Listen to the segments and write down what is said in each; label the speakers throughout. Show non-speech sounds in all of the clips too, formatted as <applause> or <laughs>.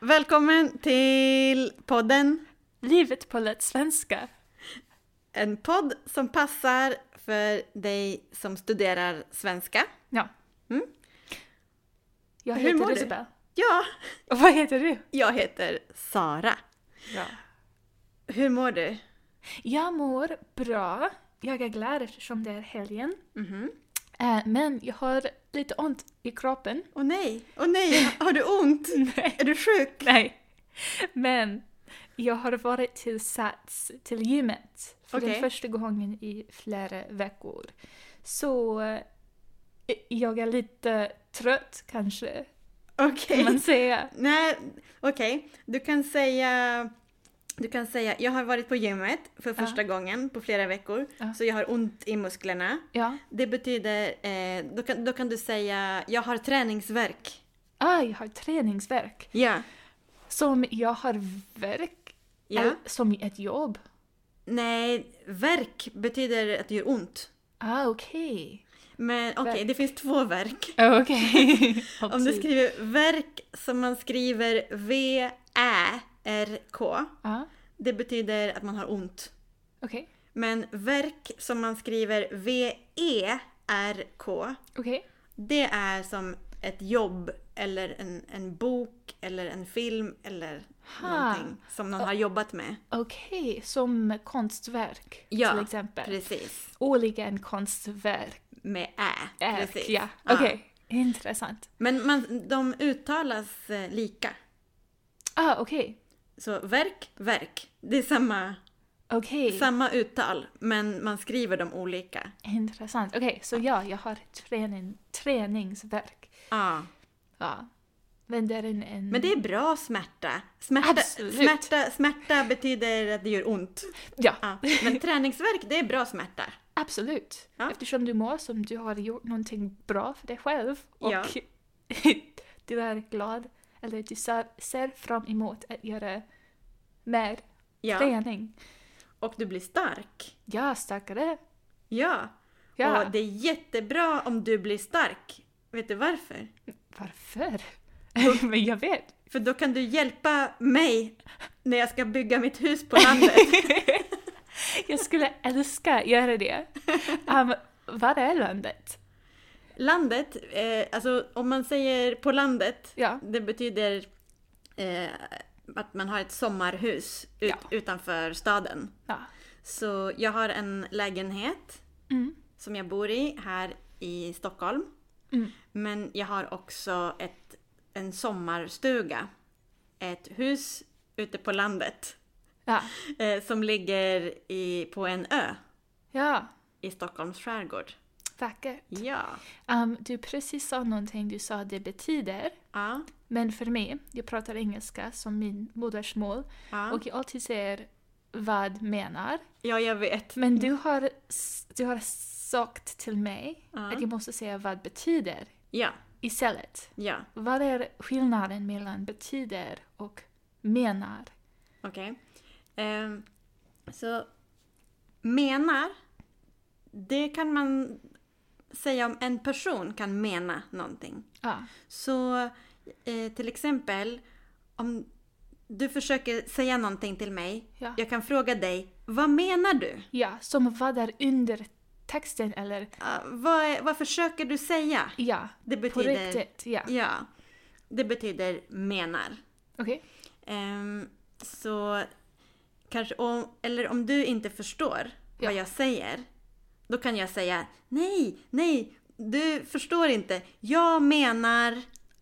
Speaker 1: välkommen till podden.
Speaker 2: Livet på lätt svenska.
Speaker 1: En podd som passar för dig som studerar svenska.
Speaker 2: Ja.
Speaker 1: Mm.
Speaker 2: Jag
Speaker 1: Hur
Speaker 2: heter
Speaker 1: mår du?
Speaker 2: Isabel.
Speaker 1: Ja,
Speaker 2: Och vad heter du?
Speaker 1: jag heter Sara.
Speaker 2: Ja.
Speaker 1: Hur mår du?
Speaker 2: Jag mår bra. Jag är glad eftersom det är helgen.
Speaker 1: Mhm.
Speaker 2: Eh, Men jag har lite ont i kroppen. <laughs>
Speaker 1: Åh nej, åh nej, har du ont?
Speaker 2: Nej.
Speaker 1: Är du sjuk?
Speaker 2: Nej. Men jag har varit till Sats, till gymmet, för
Speaker 1: Okej.
Speaker 2: den första gången i flera veckor. Så eh, jag är lite trött kanske,
Speaker 1: Okej.
Speaker 2: kan <laughs> man säga.
Speaker 1: Nej, okej. Du kan säga... Du kan säga, jag har varit på gymmet för
Speaker 2: Ja.
Speaker 1: första gången på flera veckor,
Speaker 2: Ja.
Speaker 1: så jag har ont i musklerna.
Speaker 2: Ja.
Speaker 1: Det betyder, eh, då, kan, då kan du säga, jag har träningsverk.
Speaker 2: Ah, jag har träningsverk.
Speaker 1: Ja.
Speaker 2: Som jag har verk,
Speaker 1: ja.
Speaker 2: eller som ett jobb.
Speaker 1: Nej, verk betyder att det gör ont.
Speaker 2: Ah, okej.
Speaker 1: Men okej,
Speaker 2: Verk. Typ.
Speaker 1: det finns två verk.
Speaker 2: Okej. <laughs>
Speaker 1: Om du skriver verk som man skriver V-Ä-R-K,
Speaker 2: ah,
Speaker 1: det betyder att man har ont.
Speaker 2: okej.
Speaker 1: Men verk som man skriver V-E-R-K,
Speaker 2: Okej.
Speaker 1: det är som ett jobb eller en, en bok eller en film eller
Speaker 2: Ha.
Speaker 1: någonting som någon har jobbat med.
Speaker 2: Okej, som konstverk
Speaker 1: Ja,
Speaker 2: till exempel.
Speaker 1: Precis,
Speaker 2: Olika en konstverk.
Speaker 1: med Ä.
Speaker 2: Är,
Speaker 1: Precis.
Speaker 2: ja,
Speaker 1: Ja.
Speaker 2: okej. Intressant.
Speaker 1: Men man, de uttalas eh, lika.
Speaker 2: Ah, okej.
Speaker 1: Så verk, verk. Det är samma,
Speaker 2: Okej,
Speaker 1: samma uttal, men man skriver dem olika.
Speaker 2: intressant. Okej, så ja, jag har träning, träningsverk.
Speaker 1: Ja.
Speaker 2: Ja. Men det är en... en
Speaker 1: Men det är bra smärta. Smärta,
Speaker 2: Absolut.
Speaker 1: smärta, smärta betyder att det gör ont.
Speaker 2: Ja,
Speaker 1: Ja. <laughs> Men träningsverk, det är bra smärta.
Speaker 2: absolut.
Speaker 1: Ja.
Speaker 2: Eftersom du mår som du har gjort någonting bra för dig själv och
Speaker 1: Ja.
Speaker 2: <laughs> du är glad, eller du ser, ser fram emot att göra mer
Speaker 1: Ja.
Speaker 2: träning.
Speaker 1: Och du blir stark.
Speaker 2: Ja, starkare.
Speaker 1: Ja.
Speaker 2: Ja.
Speaker 1: Och det är jättebra om du blir stark. Vet du varför?
Speaker 2: Varför? <laughs> Men jag vet.
Speaker 1: För då kan du hjälpa mig när jag ska bygga mitt hus på
Speaker 2: <laughs>
Speaker 1: landet.
Speaker 2: Jag skulle älska att göra det. Um, var är landet?
Speaker 1: Landet, eh, alltså om man säger på landet,
Speaker 2: Ja.
Speaker 1: det betyder eh, att man har ett sommarhus ut,
Speaker 2: Ja.
Speaker 1: utanför staden.
Speaker 2: ja.
Speaker 1: Så jag har en lägenhet
Speaker 2: Mm.
Speaker 1: som jag bor i här i Stockholm.
Speaker 2: Mm.
Speaker 1: Men jag har också ett, en sommarstuga. Ett hus ute på landet
Speaker 2: Ja.
Speaker 1: <laughs> eh, som ligger i, på en ö
Speaker 2: ja.
Speaker 1: i Stockholms skärgård.
Speaker 2: Vackert.
Speaker 1: Ja.
Speaker 2: Um, du precis sa någonting du sa det betyder.
Speaker 1: Ja.
Speaker 2: Men för mig, jag pratar engelska som min modersmål
Speaker 1: Ja,
Speaker 2: och jag alltid säger vad menar.
Speaker 1: ja jag vet.
Speaker 2: Men du har, s- du har sagt till mig
Speaker 1: Ja.
Speaker 2: att jag måste säga vad betyder
Speaker 1: Ja,
Speaker 2: istället.
Speaker 1: ja.
Speaker 2: Vad är skillnaden mellan betyder och menar?
Speaker 1: Okej. Ehm, så menar, det kan man säga om en person kan mena någonting.
Speaker 2: Ja.
Speaker 1: Så eh, till exempel om du försöker säga någonting till mig.
Speaker 2: Ja.
Speaker 1: Jag kan fråga dig, vad menar du?
Speaker 2: Ja, som vad är under texten eller
Speaker 1: Ah, vad, är- vad försöker du säga?
Speaker 2: ja,
Speaker 1: Det
Speaker 2: på
Speaker 1: betyder...
Speaker 2: riktigt. Ja.
Speaker 1: Ja. Det betyder menar.
Speaker 2: Okej.
Speaker 1: Ehm, så kanske om, eller om du inte förstår
Speaker 2: Ja.
Speaker 1: vad jag säger, då kan jag säga nej, nej, du förstår inte. Jag menar,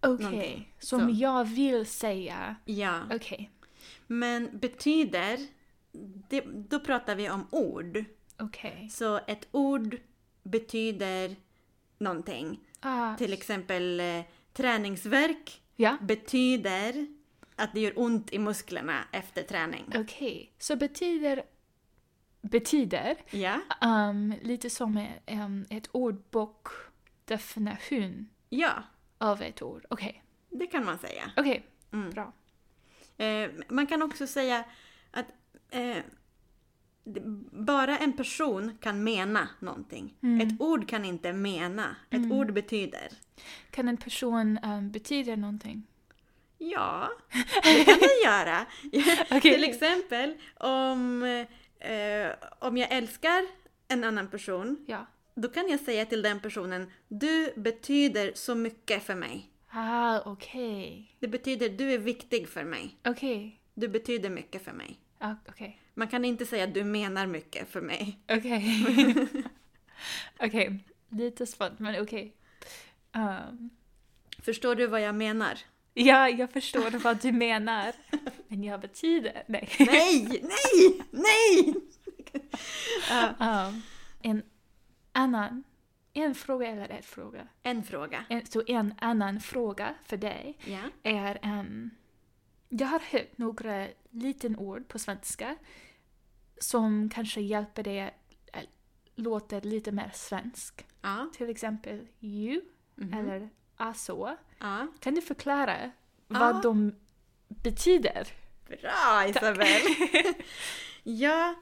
Speaker 2: Okej.
Speaker 1: Någonting.
Speaker 2: Som
Speaker 1: Så.
Speaker 2: jag vill säga.
Speaker 1: ja.
Speaker 2: Okej.
Speaker 1: Men betyder, det, då pratar vi om ord.
Speaker 2: Okej.
Speaker 1: Så ett ord betyder någonting.
Speaker 2: Ah,
Speaker 1: Till exempel eh, träningsverk
Speaker 2: ja.
Speaker 1: betyder att det gör ont i musklerna efter träning.
Speaker 2: Okej. Så betyder betyder
Speaker 1: Ja,
Speaker 2: ehm, lite som en, en, ett ordbok definition
Speaker 1: ja,
Speaker 2: av ett ord. Okej.
Speaker 1: det kan man säga.
Speaker 2: Okej.
Speaker 1: Mm.
Speaker 2: Bra.
Speaker 1: Eh, man kan också säga att eh, det- bara en person kan mena någonting.
Speaker 2: Mm.
Speaker 1: Ett ord kan inte mena. Ett ord betyder.
Speaker 2: Kan en person um, betyda någonting?
Speaker 1: Ja, det kan jag göra.
Speaker 2: Okej.
Speaker 1: Till exempel om, eh, om jag älskar en annan person,
Speaker 2: Ja.
Speaker 1: då kan jag säga till den personen Du betyder så mycket för mig.
Speaker 2: Ah, okej.
Speaker 1: Det betyder du är viktig för mig.
Speaker 2: Okej.
Speaker 1: Du betyder mycket för mig.
Speaker 2: Ah, Okej.
Speaker 1: Man kan inte säga du menar mycket för mig.
Speaker 2: Okej. <laughs> Okej. Lite svårt, men okej. Ehm,
Speaker 1: Förstår du vad jag menar?
Speaker 2: ja, jag förstår vad du menar. <laughs> Men jag betyder... Nej.
Speaker 1: Nej, nej, nej! Ja,
Speaker 2: Ehm, en annan... En fråga eller en fråga?
Speaker 1: en fråga.
Speaker 2: En, så en annan fråga för dig
Speaker 1: Ja.
Speaker 2: är... ehm, jag har hört några liten ord på svenska som kanske hjälper dig att eh, låta lite mer svensk.
Speaker 1: Ja.
Speaker 2: Till exempel you
Speaker 1: mhm.
Speaker 2: eller aså.
Speaker 1: ja.
Speaker 2: Kan du förklara
Speaker 1: Ah.
Speaker 2: vad de betyder?
Speaker 1: Bra Isabel! ja,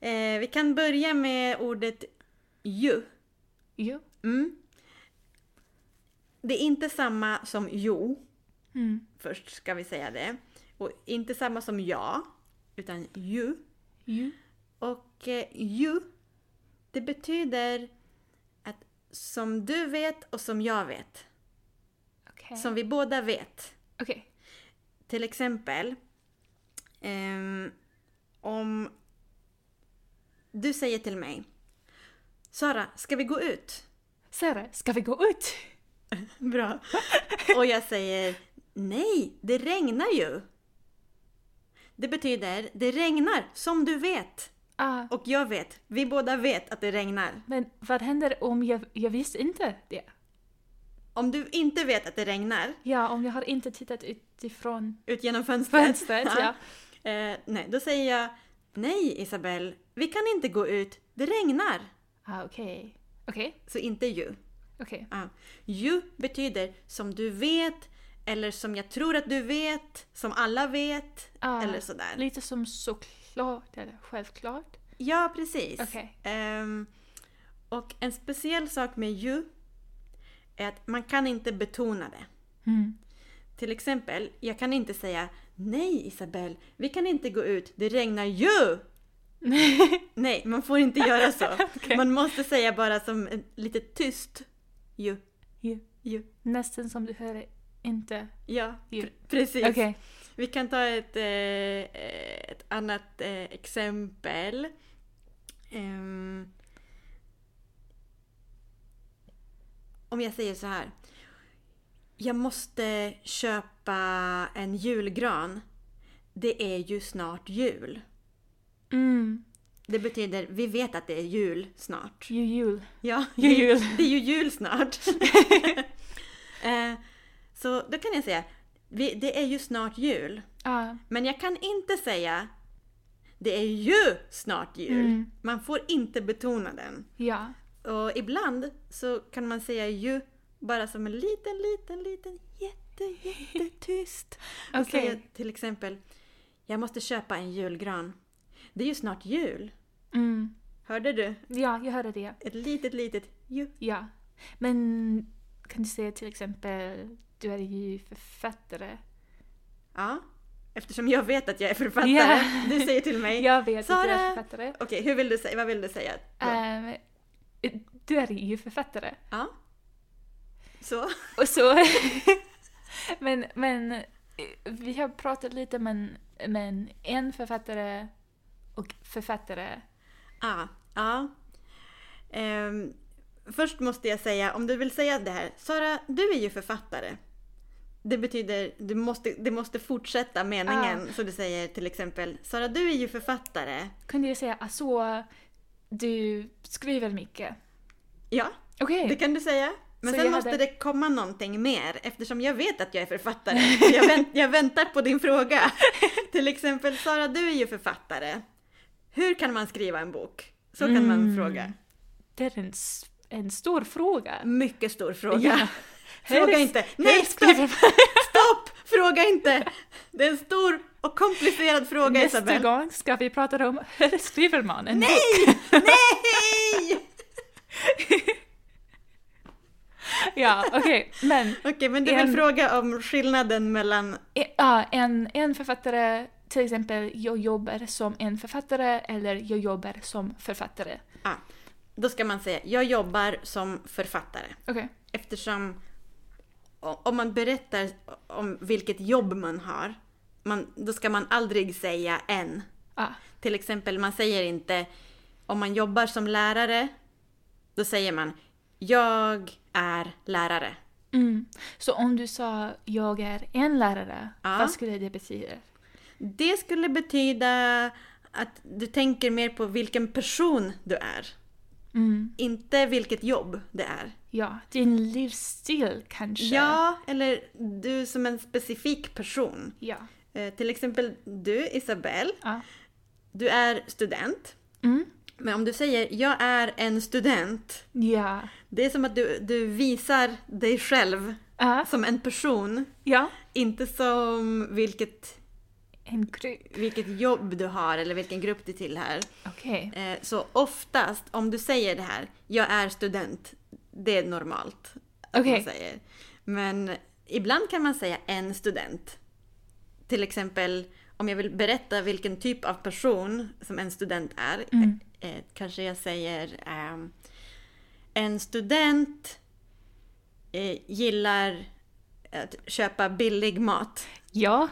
Speaker 1: eh, vi kan börja med ordet ju.
Speaker 2: You.
Speaker 1: Mm. Det är inte samma som jo,
Speaker 2: Mm.
Speaker 1: först ska vi säga det. Och inte samma som ja, utan ju.
Speaker 2: You.
Speaker 1: Och eh, ju, det betyder att som du vet och som jag vet.
Speaker 2: Okej.
Speaker 1: Som vi båda vet.
Speaker 2: Okej.
Speaker 1: Till exempel, ehm, om du säger till mig Sara, ska vi gå ut?
Speaker 2: Sara, ska vi gå ut?
Speaker 1: Bra. <laughs> Och jag säger nej, det regnar ju. Det betyder, det regnar som du vet.
Speaker 2: Ah,
Speaker 1: Och jag vet, vi båda vet att det regnar.
Speaker 2: men vad händer om jag, jag visste inte det?
Speaker 1: Om du inte vet att det regnar
Speaker 2: Ja, om jag har inte tittat utifrån
Speaker 1: ut genom fönstret. <laughs>
Speaker 2: fönstret. ja.
Speaker 1: Eh, nej, då säger jag nej Isabel, vi kan inte gå ut, det regnar.
Speaker 2: Ah, okej. Okej.
Speaker 1: Så inte ju.
Speaker 2: Okej.
Speaker 1: Ja. You betyder som du vet, eller som jag tror att du vet, som alla vet,
Speaker 2: Ah,
Speaker 1: eller sådär.
Speaker 2: Lite som såklart eller självklart.
Speaker 1: Ja, precis.
Speaker 2: Okej.
Speaker 1: Ehm, och en speciell sak med you är att man kan inte betona det. <laughs>
Speaker 2: Mm.
Speaker 1: Till exempel, jag kan inte säga Nej Isabel, vi kan inte gå ut, det regnar ju! Nej, man får inte göra så.
Speaker 2: <laughs> Okej.
Speaker 1: Man måste säga bara som ett lite tyst ju.
Speaker 2: You.
Speaker 1: You.
Speaker 2: Nästan som du hör inte.
Speaker 1: Ja,
Speaker 2: You.
Speaker 1: pr- precis.
Speaker 2: Okej.
Speaker 1: Vi kan ta ett, eh, ett annat eh, exempel. Ehm, om jag säger så här. Jag måste köpa en julgran. Det är ju snart jul.
Speaker 2: Mm.
Speaker 1: Det betyder, vi vet att det är jul snart.
Speaker 2: You jul.
Speaker 1: Ja, <laughs>
Speaker 2: Ju
Speaker 1: det-
Speaker 2: jul.
Speaker 1: Det är ju jul <laughs> snart. eh, så då kan jag säga, vi, det är ju snart jul.
Speaker 2: Ah.
Speaker 1: Men jag kan inte säga det är ju snart jul.
Speaker 2: Mm.
Speaker 1: Man får inte betona den.
Speaker 2: Ja.
Speaker 1: Och ibland så kan man säga ju bara som en liten, liten, liten jätte, jättetyst.
Speaker 2: <laughs>
Speaker 1: Och
Speaker 2: Okej.
Speaker 1: säga till exempel Jag måste köpa en julgran. Det är ju snart jul.
Speaker 2: Mm.
Speaker 1: Hörde du?
Speaker 2: Ja, jag hörde det.
Speaker 1: Ett litet, litet ju.
Speaker 2: Ja. Men kan du säga till exempel, du är ju författare.
Speaker 1: Ja. Eftersom jag vet att jag är författare.
Speaker 2: Ja.
Speaker 1: Du säger till mig.
Speaker 2: Jag vet att du
Speaker 1: Sara!
Speaker 2: är författare.
Speaker 1: Okej, hur vill du säga? Vad vill du säga? då?
Speaker 2: Ehm, du är ju författare.
Speaker 1: Ja. Så.
Speaker 2: Och så... <laughs> men, men eh, vi har pratat lite men, men en författare och författare.
Speaker 1: Ah, ja. Ehm, först måste jag säga, om du vill säga det här. Sara, du är ju författare. Det betyder, du måste, det måste fortsätta meningen. Så du säger till exempel, Sara du är ju författare.
Speaker 2: Kunde jag säga alltså, du skriver mycket.
Speaker 1: Ja,
Speaker 2: Okej.
Speaker 1: det kan du säga. Men
Speaker 2: Så
Speaker 1: sen
Speaker 2: jag
Speaker 1: måste
Speaker 2: hade-
Speaker 1: det komma någonting mer eftersom jag vet att jag är
Speaker 2: <laughs>
Speaker 1: författare. Jag, vänt, jag väntar på din fråga. <laughs> Till exempel, Sara du är ju författare. Hur kan man skriva en bok? Så kan man
Speaker 2: Mm.
Speaker 1: fråga.
Speaker 2: Det är en, s- en stor fråga.
Speaker 1: Mycket stor fråga.
Speaker 2: Ja.
Speaker 1: <laughs> Fråga
Speaker 2: Hej,
Speaker 1: inte. Nej,
Speaker 2: hej,
Speaker 1: stopp!
Speaker 2: skriver-
Speaker 1: Stopp! Fråga inte! Det är en stor och komplicerad fråga
Speaker 2: Nästa
Speaker 1: Isabel.
Speaker 2: gång ska vi prata om hur skriver man en
Speaker 1: Nej! Nej!
Speaker 2: ja, okej. Men
Speaker 1: Okej, men du vill
Speaker 2: En-
Speaker 1: fråga om skillnaden mellan...
Speaker 2: e- ja, en, en författare, till exempel jag jobbar som en författare eller jag jobbar som författare.
Speaker 1: Ah, då ska man säga, jag jobbar som författare.
Speaker 2: Okej.
Speaker 1: Eftersom o- om man berättar om vilket jobb man har, man, då ska man aldrig säga en.
Speaker 2: Ja.
Speaker 1: Till exempel, man säger inte om man jobbar som lärare, då säger man jag är lärare.
Speaker 2: Mm. Så om du sa jag är en lärare,
Speaker 1: Ja.
Speaker 2: vad skulle det betyda?
Speaker 1: Det skulle betyda att du tänker mer på vilken person du är,
Speaker 2: Mm.
Speaker 1: inte vilket jobb det är.
Speaker 2: Ja, din livsstil kanske?
Speaker 1: Ja, eller du som en specifik person.
Speaker 2: Ja.
Speaker 1: Eh, till exempel du, Isabelle,
Speaker 2: ja.
Speaker 1: du är student.
Speaker 2: Mm.
Speaker 1: Men om du säger jag är en student,
Speaker 2: Ja.
Speaker 1: det är som att du, du visar dig själv
Speaker 2: Ja.
Speaker 1: som en person,
Speaker 2: ja.
Speaker 1: inte som vilket,
Speaker 2: En grupp.
Speaker 1: vilket jobb du har eller vilken grupp du tillhör.
Speaker 2: Okej.
Speaker 1: Eh, så oftast om du säger det här, jag är student, det är normalt att
Speaker 2: Okej.
Speaker 1: man säger. Men ibland kan man säga en student. Till exempel om jag vill berätta vilken typ av person som en student är.
Speaker 2: Mm.
Speaker 1: Eh, kanske jag säger ehm, en student eh, gillar att köpa billig mat.
Speaker 2: Ja.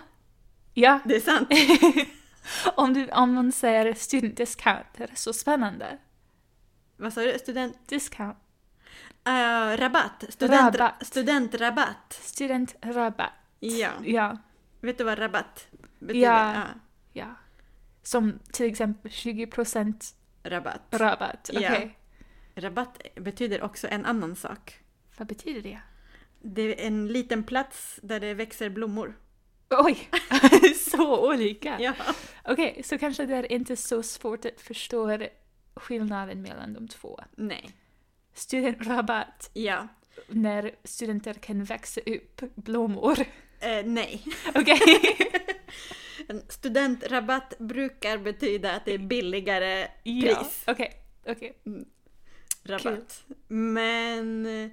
Speaker 2: Ja.
Speaker 1: Det är
Speaker 2: <laughs>
Speaker 1: sant.
Speaker 2: om, du, om man säger student discount, det är så spännande.
Speaker 1: Vad sa du? Student,
Speaker 2: Discount.
Speaker 1: eh, rabatt. Student,
Speaker 2: Rabatt.
Speaker 1: Studentrabatt.
Speaker 2: Studentrabatt.
Speaker 1: Ja.
Speaker 2: Ja.
Speaker 1: Vet du vad rabatt betyder?
Speaker 2: Ja. ja. Som till exempel 20%
Speaker 1: rabatt.
Speaker 2: rabatt.
Speaker 1: Ja.
Speaker 2: typ. Okej.
Speaker 1: rabatt betyder också en annan sak.
Speaker 2: Vad betyder det?
Speaker 1: Det är en liten plats där det växer blommor.
Speaker 2: Oj! <laughs> så olika!
Speaker 1: Ja.
Speaker 2: Okej, så kanske det är inte så svårt att förstå skillnaden mellan de två.
Speaker 1: Nej.
Speaker 2: Studentrabatt,
Speaker 1: Ja.
Speaker 2: när studenter kan växa upp <laughs> blommor.
Speaker 1: Eh, nej.
Speaker 2: Okej?
Speaker 1: En studentrabatt brukar betyda att det är billigare pris.
Speaker 2: Ja. Okej, okej.
Speaker 1: Rabatt. Men eh,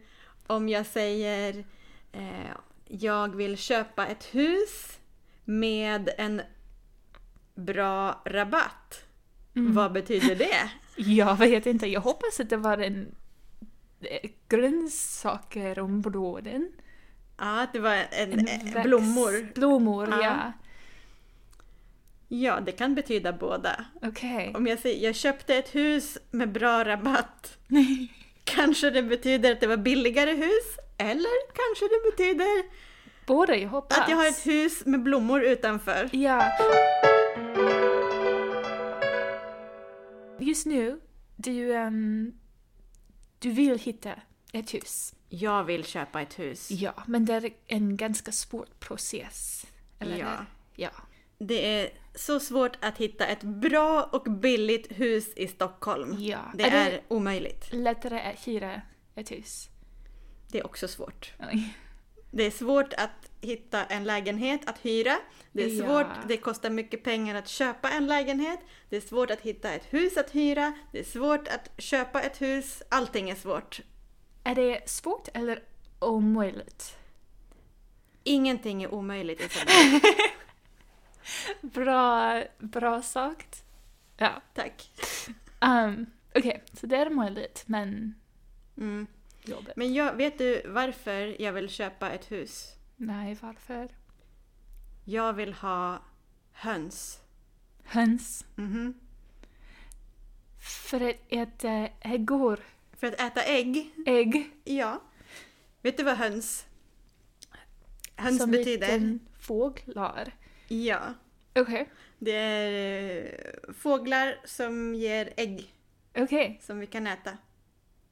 Speaker 1: om jag säger eh, jag vill köpa ett hus med en bra rabatt. Vad betyder det?
Speaker 2: Jag vet inte, jag hoppas att det var en eh, grönsakerområden.
Speaker 1: Ja, att det var en,
Speaker 2: En
Speaker 1: eh,
Speaker 2: växt-
Speaker 1: blommor.
Speaker 2: Blommor, ja.
Speaker 1: Ja. Ja, det kan betyda båda.
Speaker 2: Okej.
Speaker 1: Om jag säger jag köpte ett hus med bra <laughs> rabatt. Kanske det betyder att det var billigare hus. Eller kanske det betyder
Speaker 2: Båda, jag hoppas.
Speaker 1: att jag har ett hus med blommor utanför.
Speaker 2: Ja. Just nu, du, ehm, du vill hitta ett hus.
Speaker 1: Jag vill köpa ett hus.
Speaker 2: Ja, men det är en ganska svår process. Eller?
Speaker 1: Ja.
Speaker 2: ja.
Speaker 1: Det är så svårt att hitta ett bra och billigt hus i Stockholm.
Speaker 2: Ja.
Speaker 1: Det
Speaker 2: Är det-
Speaker 1: är, omöjligt.
Speaker 2: Lättare att hyra ett hus.
Speaker 1: Det är också svårt.
Speaker 2: Oj.
Speaker 1: Det är svårt att hitta en lägenhet att hyra. Det är
Speaker 2: Ja.
Speaker 1: svårt, det kostar mycket pengar att köpa en lägenhet. Det är svårt att hitta ett hus att hyra. Det är svårt att köpa ett hus. Allting är svårt.
Speaker 2: Är det svårt eller omöjligt?
Speaker 1: Ingenting är omöjligt.
Speaker 2: <laughs>
Speaker 1: Isabel.
Speaker 2: Bra, bra sagt. Ja.
Speaker 1: Tack.
Speaker 2: Um, Okej, så det är möjligt, men
Speaker 1: Mm.
Speaker 2: jobbigt.
Speaker 1: Men jag, vet du varför jag vill köpa ett hus?
Speaker 2: Nej, varför?
Speaker 1: Jag vill ha höns.
Speaker 2: Höns.
Speaker 1: Mhm.
Speaker 2: För att äta äggor.
Speaker 1: För att äta ägg?
Speaker 2: Ägg.
Speaker 1: Ja. Vet du vad höns? Höns
Speaker 2: som
Speaker 1: betyder?
Speaker 2: liten fåglar.
Speaker 1: Ja.
Speaker 2: Okej.
Speaker 1: Det är eh, fåglar som ger ägg
Speaker 2: Okej.
Speaker 1: som vi kan äta.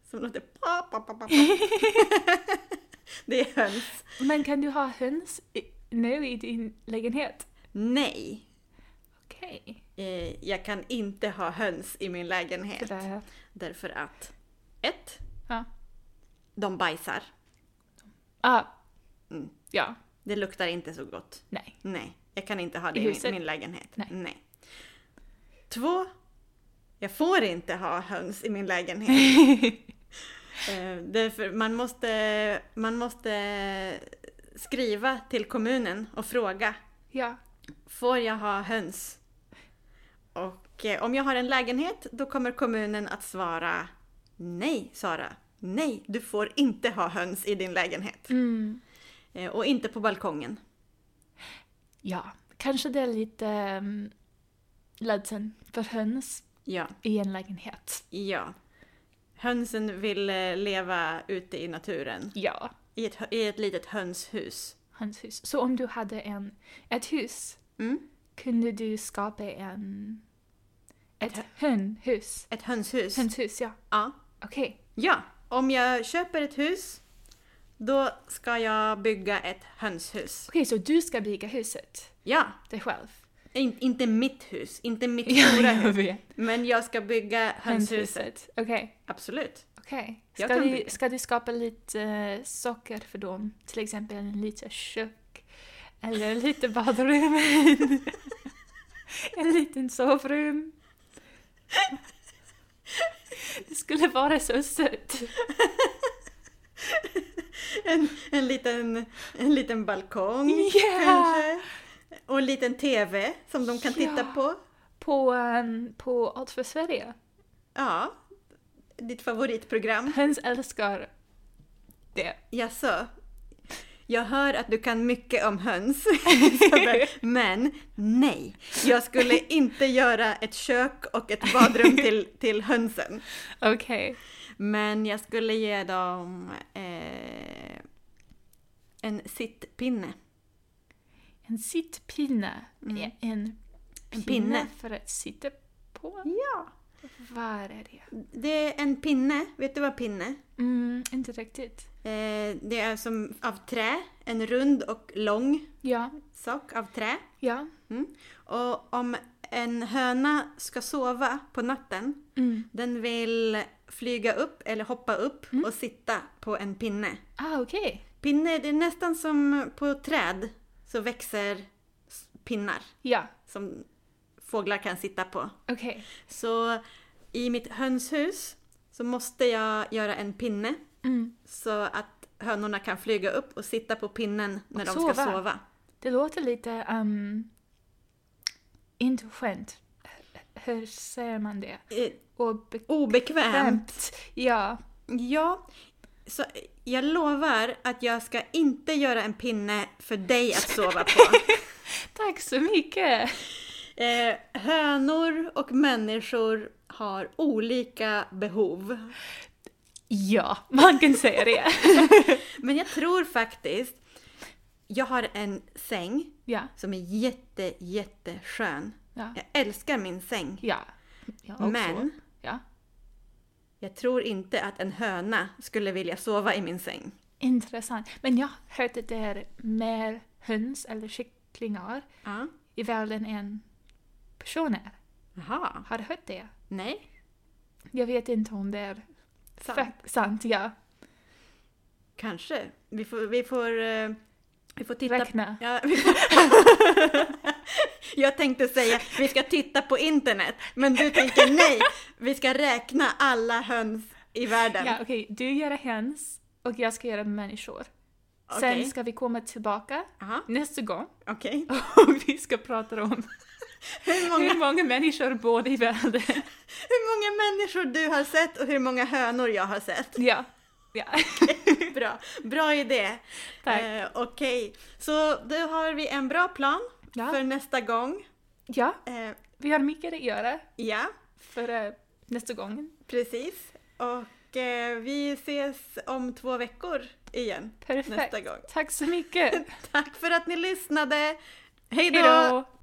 Speaker 1: Som låter pa, pa,
Speaker 2: <laughs>
Speaker 1: pa, pa, pa. Det är höns.
Speaker 2: Men kan du ha höns i, nu i din lägenhet?
Speaker 1: Nej,
Speaker 2: Okej.
Speaker 1: eh, jag kan inte ha höns i min lägenhet.
Speaker 2: Sådär.
Speaker 1: Därför att ett,
Speaker 2: Ja.
Speaker 1: De bajsar.
Speaker 2: Ah.
Speaker 1: Mm.
Speaker 2: Ja.
Speaker 1: Det luktar inte så gott.
Speaker 2: Nej.
Speaker 1: Nej, jag kan inte ha det
Speaker 2: I
Speaker 1: i min,
Speaker 2: huset?
Speaker 1: min lägenhet.
Speaker 2: Nej. <laughs>
Speaker 1: Två, jag får inte ha höns i min lägenhet. Eh, därför man måste, man måste skriva till kommunen och fråga.
Speaker 2: Ja.
Speaker 1: Får jag ha höns? Och eh, om jag har en lägenhet då kommer kommunen att svara Nej Sara, nej du får inte ha höns i din lägenhet.
Speaker 2: Mm.
Speaker 1: Eh, och inte på balkongen.
Speaker 2: Ja, kanske det är lite um, ledsen för höns
Speaker 1: Ja,
Speaker 2: i en lägenhet.
Speaker 1: ja. Hönsen vill eh, leva ute i naturen.
Speaker 2: Ja.
Speaker 1: I ett, hö- i ett litet hönshus.
Speaker 2: Hans hus. Så om du hade en, ett hus
Speaker 1: Mm.
Speaker 2: kunde du skapa en... Ett
Speaker 1: Ett
Speaker 2: hönhus.
Speaker 1: Ett hönshus.
Speaker 2: Hönshus, ja.
Speaker 1: Ja.
Speaker 2: Okej.
Speaker 1: ja, om jag köper ett hus då ska jag bygga ett hönshus.
Speaker 2: Okej, så du ska bygga huset
Speaker 1: Ja,
Speaker 2: dig själv?
Speaker 1: In, inte mitt hus, inte mitt stora hus.
Speaker 2: vet.
Speaker 1: Men jag ska bygga hönshuset.
Speaker 2: Hönshuset. Okej.
Speaker 1: Absolut.
Speaker 2: Okej.
Speaker 1: Jag
Speaker 2: Ska
Speaker 1: kan
Speaker 2: du,
Speaker 1: bygga.
Speaker 2: ska du skapa lite eh, saker för dem? Till exempel en liten kök? Eller lite badrum? <laughs> en liten sovrum? Det skulle vara så sött.
Speaker 1: En, en, liten, en liten balkong
Speaker 2: Ja.
Speaker 1: kanske. Och en liten TV som de kan titta
Speaker 2: Ja.
Speaker 1: på.
Speaker 2: På, um, på Allt för Sverige.
Speaker 1: Ja. Ditt favoritprogram.
Speaker 2: Höns älskar det.
Speaker 1: Jaså? Jag hör att du kan mycket om höns, Isabel, men nej. Jag skulle inte göra ett kök och ett badrum till, till hönsen.
Speaker 2: Okej.
Speaker 1: Men jag skulle ge dem eh, en sittpinne.
Speaker 2: En sittpinne.
Speaker 1: Mm.
Speaker 2: är En,
Speaker 1: En
Speaker 2: pinne
Speaker 1: pinne.
Speaker 2: för att sitta på.
Speaker 1: Ja.
Speaker 2: Vad är det?
Speaker 1: Det är en pinne, vet du vad pinne?
Speaker 2: Mm, inte riktigt.
Speaker 1: Eh, det är som av trä, en rund och lång
Speaker 2: Ja.
Speaker 1: sak av trä.
Speaker 2: Ja.
Speaker 1: Och om en höna ska sova på natten
Speaker 2: Mm.
Speaker 1: Den vill flyga upp eller hoppa upp
Speaker 2: Mm.
Speaker 1: och sitta på en pinne.
Speaker 2: Ah, okej.
Speaker 1: Pinne, det är nästan som på träd så växer s- pinnar
Speaker 2: Ja,
Speaker 1: som fåglar kan sitta på.
Speaker 2: okej.
Speaker 1: Så i mitt hönshus så måste jag göra en pinne
Speaker 2: Mm.
Speaker 1: så att hönorna kan flyga upp och sitta på pinnen när
Speaker 2: Och
Speaker 1: de ska
Speaker 2: sova.
Speaker 1: sova.
Speaker 2: Det låter lite... Um, inte skönt. H- Hur säger man det?
Speaker 1: Eh,
Speaker 2: Obekvämt.
Speaker 1: Obekvämt.
Speaker 2: Ja.
Speaker 1: Ja, så jag lovar att jag ska inte göra en pinne för dig att sova <laughs> på.
Speaker 2: Tack så mycket!
Speaker 1: Eh, hönor och människor har olika behov.
Speaker 2: Ja, man kan säga det. <laughs>
Speaker 1: Men jag tror faktiskt... Jag har en säng
Speaker 2: ja.
Speaker 1: som är jätte, jätteskön.
Speaker 2: Ja.
Speaker 1: Jag älskar min säng.
Speaker 2: Ja. Jag också.
Speaker 1: Men
Speaker 2: Ja.
Speaker 1: jag tror inte att en höna skulle vilja sova i min säng.
Speaker 2: Intressant. Men jag har hört att det är mer höns eller kycklingar
Speaker 1: Ja.
Speaker 2: i världen än personer.
Speaker 1: Jaha.
Speaker 2: Har du hört det?
Speaker 1: Nej.
Speaker 2: Jag vet inte om det är
Speaker 1: Sant.
Speaker 2: fa- sant ja.
Speaker 1: Kanske. Vi får... Vi får, eh, vi får titta
Speaker 2: Räkna.
Speaker 1: Ja, <laughs> vi får... Jag tänkte säga vi ska titta på internet, men du tänker nej. Vi ska räkna alla höns i världen.
Speaker 2: Ja, okej. Du gör höns och jag ska göra människor.
Speaker 1: Okej.
Speaker 2: Sen ska vi komma tillbaka
Speaker 1: Aha, <laughs>
Speaker 2: nästa gång
Speaker 1: okej.
Speaker 2: och vi ska prata om
Speaker 1: Hur, många,
Speaker 2: hur många människor bor i världen.
Speaker 1: <laughs> hur många människor du har sett och hur många hönor jag har sett. <laughs>
Speaker 2: Ja. ja.
Speaker 1: Bra, bra idé.
Speaker 2: Tack.
Speaker 1: Eh, okej, så då har vi en bra plan
Speaker 2: Ja.
Speaker 1: för nästa gång.
Speaker 2: ja,
Speaker 1: Eh,
Speaker 2: vi har mycket att göra
Speaker 1: ja,
Speaker 2: för eh, nästa gång.
Speaker 1: precis. Och eh, vi ses om två veckor igen
Speaker 2: Perfekt.
Speaker 1: nästa gång.
Speaker 2: Tack så mycket.
Speaker 1: Tack för att ni lyssnade. Hej
Speaker 2: Hej
Speaker 1: då!
Speaker 2: då!